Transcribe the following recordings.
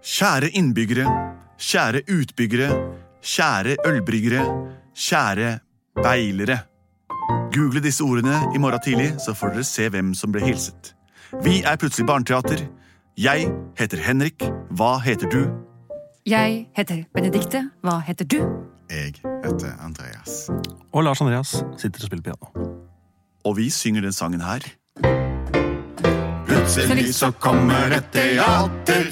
Kjære innbyggere, kjære utbyggere, kjære ølbryggere, kjære beilere. Google disse ordene i morgen tidlig, så får dere se hvem som ble hilset. Vi er Plutselig barneteater. Jeg heter Henrik. Hva heter du? Jeg heter Benedikte. Hva heter du? Jeg heter Andreas. Og Lars Andreas sitter og spiller piano. Og vi synger den sangen her. Plutselig så kommer et teater.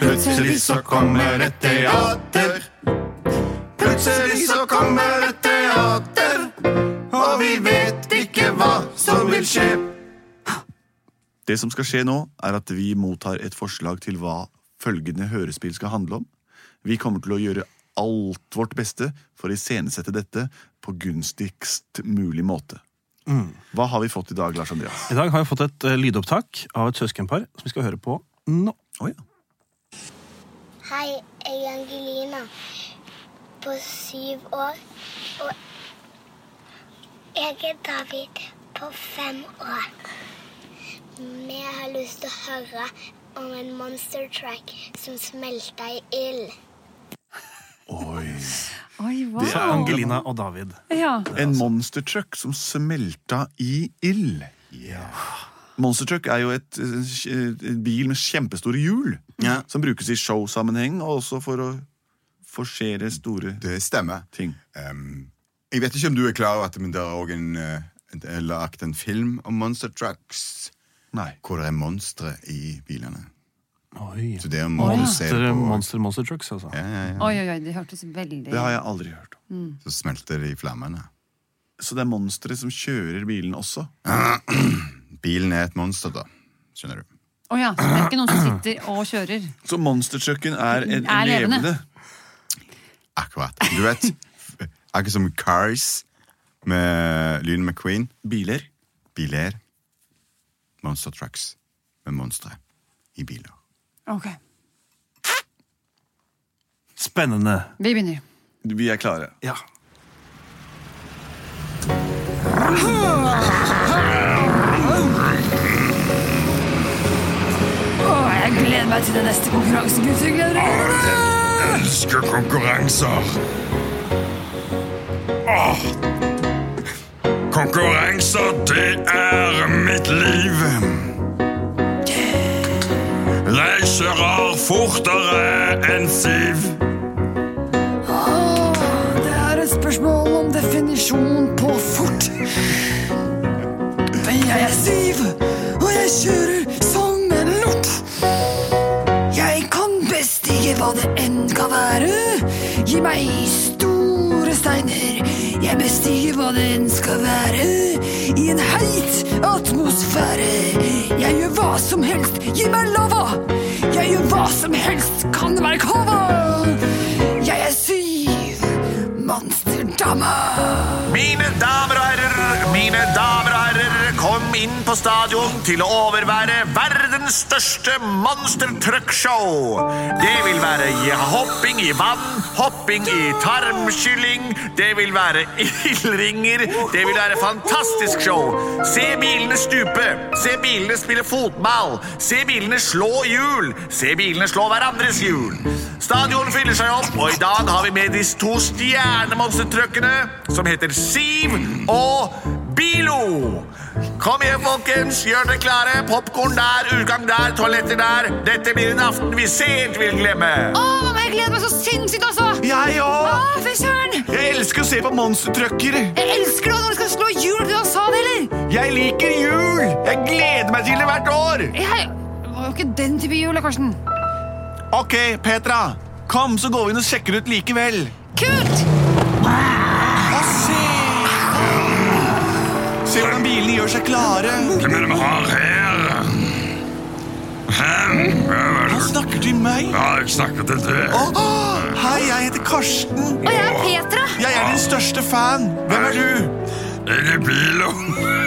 Plutselig så kommer et teater. Plutselig så kommer et teater. Og vi vet ikke hva som vil skje. Det som skal skje nå, er at vi mottar et forslag til hva følgende hørespill skal handle om. Vi kommer til å gjøre alt vårt beste for å iscenesette dette på gunstigst mulig måte. Hva har vi fått i dag, Lars Andreas? I dag har jeg fått et eh, lydopptak av et søskenpar som vi skal høre på nå. Å ja. Hei, jeg er Angelina på syv år. Og jeg er David på fem år. Vi har lyst til å høre om en monster truck som smelta i ild. Oi. Oi, wow. Det er Angelina og David. Ja. En monstertruck som smelta i ild. Monstertruck er jo et, eh, en bil med kjempestore hjul. Ja. Som brukes i showsammenheng og også for å forsere store Det stemmer. ting. Ehm, jeg vet ikke om du er klar over at men det er også en, eh, det er lagt en film om monster trucks. Nei. Hvor det er monstre i bilene. Oi. Så det må du se Monster, på. monster, monster trucks, altså. Ja, ja, ja. Oi, oi, oi, det hørtes veldig Det har jeg aldri hørt om. Så smelter det i flammene. Så det er monstre som kjører bilen også. Bilen er et monster, da. Skjønner du. Å ja, så det er ikke noen som sitter og kjører. Så monstertrucken er en, Er levende. levende. Akkurat. Du vet, akkurat som Cars med Lyn McQueen. Biler. Biler. Monster trucks med monstre i biler. Ok, Spennende. Vi begynner. Vi er klare. Ja. Å, jeg gleder meg til den neste konkurransen, gutter. Gleder dere? elsker konkurranser. Åh. Konkurranser, det er mitt liv. Reiserer fortere enn siv. Det er et spørsmål om definisjon på fort. Men jeg er syv, og jeg kjører som en lort. Jeg kan best ikke hva det enn kan være. Gi meg store steiner. Jeg bestiger hva det enn skal være. I en heit atmosfære. Jeg gjør hva som helst. Gi meg lava! Jeg gjør hva som helst. Kan det være kava? Jeg er syv. Monsterdama. Mine damer og herrer, mine damer og herrer, kom inn på stadion til å overvære verdens største monstertruckshow. Det vil være i- hopping i vann, hopping i tarmkylling, det vil være ildringer, det vil være fantastisk show. Se bilene stupe, se bilene spille fotball, se bilene slå hjul, se bilene slå hverandres hjul. Stadion fyller seg opp, og i dag har vi med de to stjernemonstertrøkkene som heter Siv og Bilo. Kom igjen, folkens. Gjør dere klare. Popkorn der, utgang der, toaletter der. Dette blir en aften vi sent vil glemme. jeg gleder meg så sinnssykt, altså! Jeg òg! Å, fy søren! Jeg elsker å se på monstertrucker! Jeg elsker det når du skal slå hjul til Hassan, eller? Jeg liker jul! Jeg gleder meg til det hvert år! Jeg det var jo ikke den type hjul, da, Karsten. Ok, Petra. Kom, så går vi inn og sjekker ut likevel. Kult! Og se! Se hvordan bilene gjør seg klare. Hvem er det vi har her? Hem, hvem er Han det? snakker til meg. Ja, jeg snakker til deg. Å, hei, jeg heter Karsten. Og jeg er Petra. Jeg er din største fan. Hvem er du? Jeg er Bilo.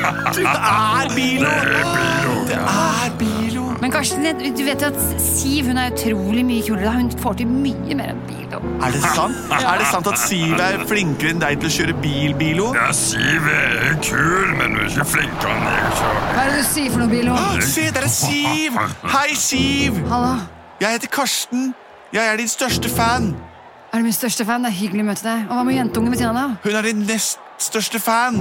Det er Bilo. Det er Bilo. Det er Bilo. Men Karsten, jeg- du vet jo at Siv hun er utrolig mye kulere. da. Hun får til mye mer enn bil. og- Er det sant? Er det sant at Siv er flinkere enn deg til å kjøre bil, Bilo? Ja, Siv er kul, men hun er ikke flinkere enn jeg. Så. Hva er det du sier for noe, Bilo? Se, der er Siv! Hei, Siv! Hallo. Jeg heter Karsten. Jeg er din største fan. Er du min største fan? Det er hyggelig å møte deg. Og hva med jentungen ved siden av? Hun er din nest største fan.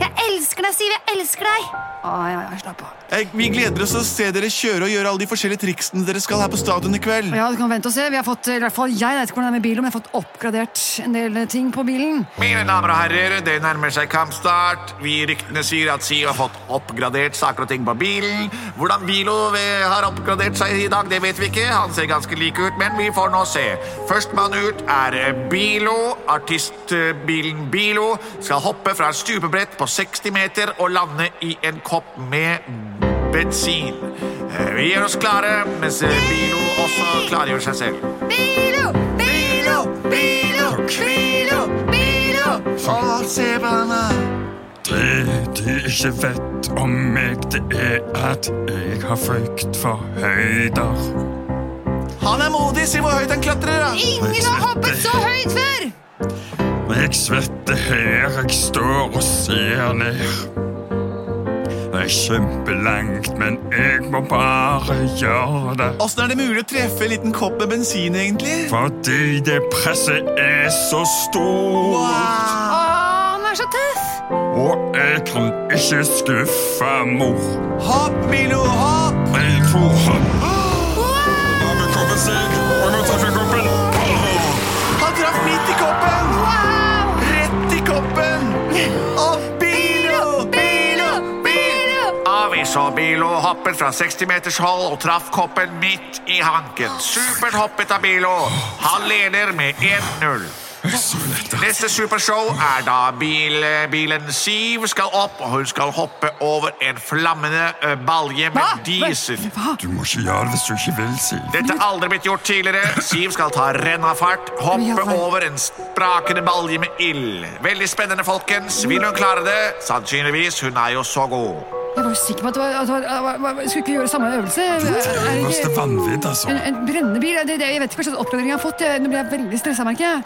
Jeg elsker deg, Siv! Jeg elsker deg! Å, ja, ja, slapp av. Jeg, Eh, vi gleder oss til å se dere kjøre og gjøre alle de forskjellige triksene dere skal her på stadion i kveld. Ja, du kan vente og se. Vi har fått, eller i hvert fall jeg vet ikke hvordan det er med bilen, men jeg har fått oppgradert en del eh, ting på bilen. Mine damer og herrer, det nærmer seg kampstart. Vi ryktene sier at Siv har fått oppgradert saker og ting på bilen. Hvordan Bilo eh, har oppgradert seg i dag, det vet vi ikke. Han ser ganske lik ut, men vi får nå se. Førstemann ut er eh, Bilo. Artistbilen Bilo skal hoppe fra et stupebrett på 60 meter og lande i en kopp med bensin. Eh, Vi gjør oss klare, mens eh, Bilo også klargjør seg selv. Bilo! Bilo! Bilo! Bilo! Bilo! Å, se på henne. Det de ikke vet om meg, det er at jeg har frykt for høyder. Han er modig. Se hvor høyt han klatrer. da. Ingen har hoppet så høyt før! Og jeg svetter her jeg står og ser ned. Det er kjempelangt, men jeg må bare gjøre det. Åssen er det mulig å treffe en liten kopp med bensin, egentlig? Fordi det presset er så stort. Å, Wow. han er så tøff! Og jeg kan ikke skuffe mor. Hopp, Milo, hopp! Jeg tror han Han vil komme seg, og nå treffer jeg koppen. Han traff midt i koppen! Rett i koppen! Og Bilo, Bilo, Bilo! Ja, vi så Bilo hoppet fra 60 meters hold og traff koppen midt i hanken. Supert hoppet av Bilo. Han leder med 1-0. Neste supershow er da bil, bilen Siv skal opp, og hun skal hoppe over en flammende ø, balje med diesel. Du må ikke gjøre det hvis du ikke vil, Siv. Dette er aldri blitt gjort tidligere. Siv skal ta rennafart, Ja, hoppe vel. over en sprakende balje med ild. Veldig spennende, folkens. Vil hun klare det? Sannsynligvis. Hun er jo så god. Jeg var jo sikker på at det var, at det var, at det var Skulle ikke gjøre samme øvelse. Er det Øverste ikke- vanvidd, altså. En, en brennebil? Det, det, jeg vet ikke hva slags oppgradering jeg har fått. Jeg- Nå blir jeg veldig stressa, merker jeg.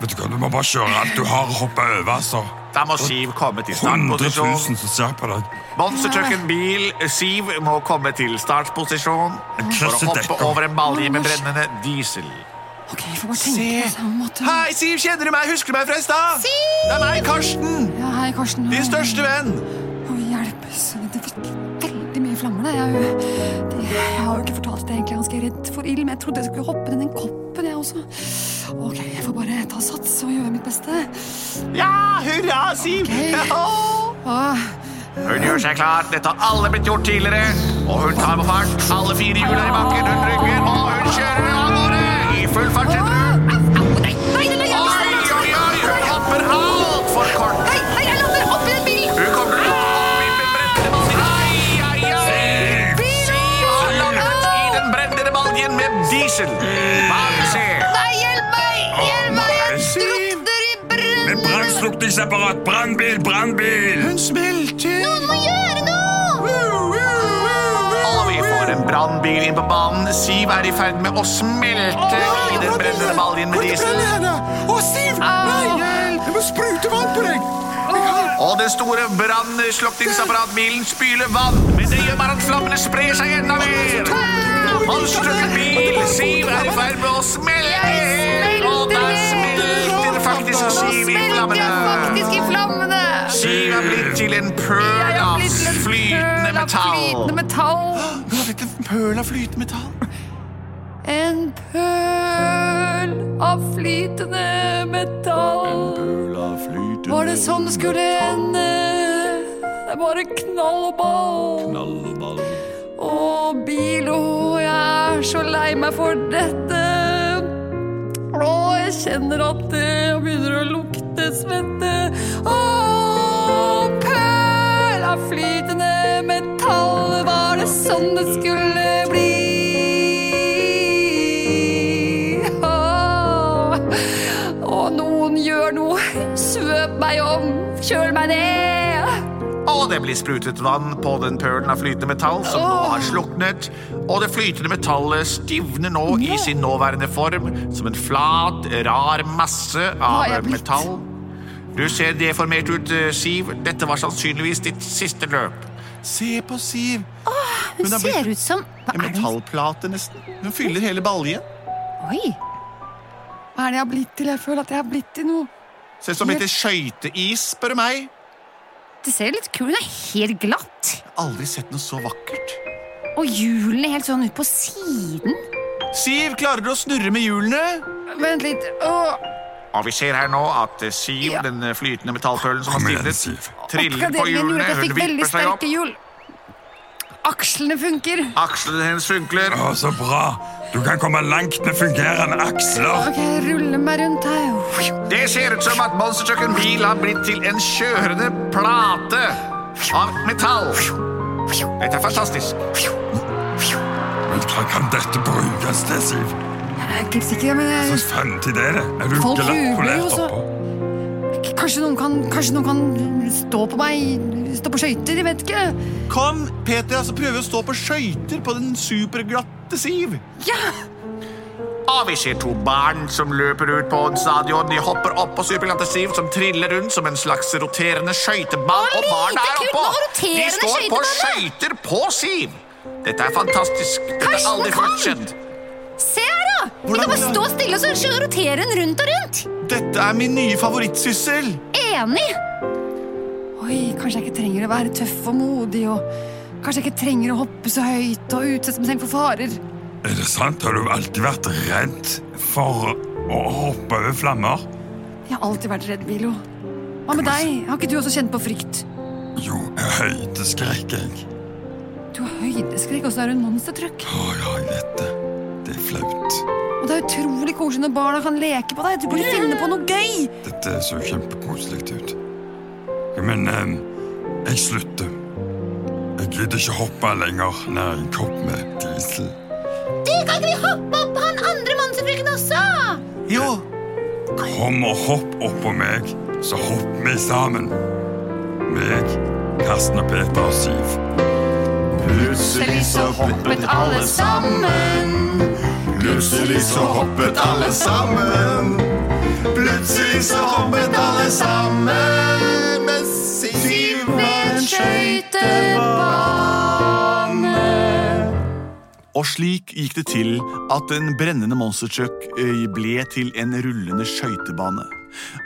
Vet du hva, du må bare kjøre alt du har og hoppe over, altså. Da må Siv komme til 100 000 startposisjon. som ser på deg. Monstertrucken bil Siv må komme til startposisjon for å krasset hoppe dekk. over en balje med brennende diesel. Ok, jeg får bare tenke på samme måte. Hei, Siv, kjenner du meg? Husker du meg fra i stad? Det er meg, Karsten. Ja, hei, Karsten. Din største venn. Å, hjelp. sønn, Det fikk veldig mye flammer, det. Jeg, er jo- det. jeg har jo ikke fortalt det, egentlig. Jeg er ganske redd for ild, men jeg trodde jeg skulle hoppe ned den koppen, jeg også. Ok, jeg får bare ta sats og gjøre mitt beste. Ja, hurra, Siv. Åh, Hun gjør seg klar. Dette har alle blitt gjort tidligere. Og hun tar på fart. Alle fire hjul er i bakken. Hun rygger, og hun kjører av gårde i full fart. setter hun. Au, au, nei, nei, nei, jeg Oi, mister oi, oi, hun hopper altfor kort. Nei, nei, jeg lander opp i den bilen! Hun kommer til å hoppe i den brennende baljen. Ai, ai, ai. Siv har landet i den brennende baljen med diesel. Bare se. Nei, hjelp meg! Hjelp meg! Jeg Siv! drukner i brønnen! Med brannslukningsapparat! Brannbil, brannbil! Hun smelter. Noen må gjøre noe! Og vi får en brannbil inn på banen. Siv er i ferd med å smelte i den brennende baljen med diesel. Å, Siv! Nei, jeg må sprute vann på deg. Og den store brannslukningsapparatbilen spyler vann. Men det gjør bare at flammene sprer seg enda mer. Monstertrucken bil. Siv er i ferd med å smelte. helt, Og da smelter faktisk Siv i flammene. faktisk i flammene! Siv er blitt til en pøl Jeg har av blitt til en flytende pøl av Flytende metall. metall. Hun har blitt en pøl av flytende metall. En pøl av flytende metall. Var det sånn det skulle ende? Det er bare knall og ball. Å, Bilo, jeg er så lei meg for dette. Å, jeg kjenner at det begynner å lukte svette. Å, pøl av flytende metall. Var det sånn det skulle bli? Å, å, noen gjør noe. Svøp meg om. Kjøl meg ned. Og det blir sprutet vann på den pølen av flytende metall som nå har sluknet. Og det flytende metallet stivner nå i sin nåværende form som en flat, rar masse har av jeg blitt? metall. Du ser deformert ut, eh, Siv. Dette var sannsynligvis ditt siste løp. Se på Siv. Hun Hun har blitt ser ut som Hva en er det hun metallplate, nesten. Hun fyller hele baljen. Oi! Hva er det jeg har blitt til? Jeg føler at jeg har blitt til noe. Ser ut som litt skøyteis, spør du meg. Det ser jo litt kul Hun er helt glatt. Jeg har Aldri sett noe så vakkert. Og hjulene helt sånn ut på siden. Siv, klarer du å snurre med hjulene? Vent litt. Åh, Og vi ser her nå at eh, Siv, Ja. den eh, flytende metallpølen som har Kom igjen, stivnet, Siv. triller på oppgraderingen gjorde hjulene, at jeg hun fikk veldig vipper seg opp, sterke hjul. Akslene funker. akslene hennes funkler, Å, så bra! Du kan komme langt med fungerende aksler. Ok, jeg ruller meg rundt her. Det ser ut som at Monster Truck en bil har blitt til en kjørende plate av metall. Dette er fantastisk. Men hva kan dette brukes til, Siv? Jeg er ikke sikker, men Hva jeg, fremtid er det? Er du Folk ikke jubler lett jo polert så. oppå? kanskje, noen kan, kanskje noen kan stå på meg, stå på skøyter, jeg vet ikke. Kom, Peter, altså prøver å stå på skøyter på den superglatte Siv. Og vi ser to barn som løper ut på en stadion. De hopper opp på superglatte Siv, som triller rundt som en slags roterende skøytebane. Å, Og barna lite er kult oppå! med roterende De står på skøytebane. skøyter på Siv. Dette er fantastisk. Dette har Karsten, aldri kom! fått skjedd. Se her, da! Vi Hvordan- kan bare stå stille og så rotere den rundt og rundt. Dette er min nye favorittsyssel. Enig! Oi, kanskje jeg ikke trenger å være tøff og modig, og kanskje jeg ikke trenger å hoppe så høyt og utsette meg selv for farer. Er det sant? Har du alltid vært redd for å hoppe over flammer? Jeg har alltid vært redd, Milo. Hva med deg? Har ikke du også kjent på frykt? Jo, jeg høydeskrekk, jeg. Du har høydeskrekk, og så er du en monstertruck. Å ja, jeg vet det. Det er flaut. Og det er utrolig koselig når barna kan leke på deg. Du burde finne på noe gøy. Dette så kjempekoselig ut. Men eh, jeg slutter. Jeg gidder ikke hoppe lenger nær en kopp med diesel. Du kan ikke vi hoppe opp på han andre monsterfrukken også? Jo, Kom og hopp oppå meg, så hopper vi sammen. Meg, Karsten og Peter og Siv. Plutselig så hoppet alle sammen. Plutselig så hoppet alle sammen. Plutselig så hoppet alle sammen. Men Siv var en skøytebane. Og slik gikk det til at en brennende monstertruck eh, ble til en rullende skøytebane.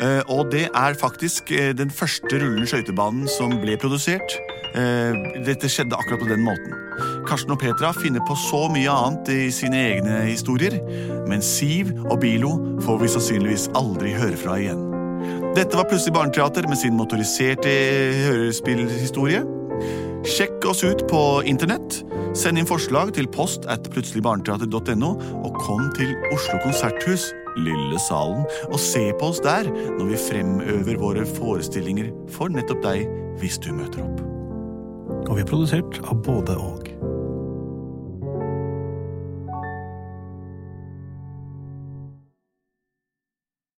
Eh, Og det er faktisk eh, den første rullende skøytebanen som ble produsert. Eh, Dette skjedde akkurat på den måten. Karsten og Petra finner på så mye annet i sine egne historier, men Siv og Bilo får vi sannsynligvis aldri høre fra igjen. Dette var Plutselig barneteater med sin motoriserte eh, hørespillhistorie. Sjekk oss ut på internett. Send inn forslag til post at plutseligbarneteater.no, og kom til Oslo Konserthus, Lille Salen, og se på oss der når vi fremøver våre forestillinger for nettopp deg, hvis du møter opp. Og vi er produsert av både og.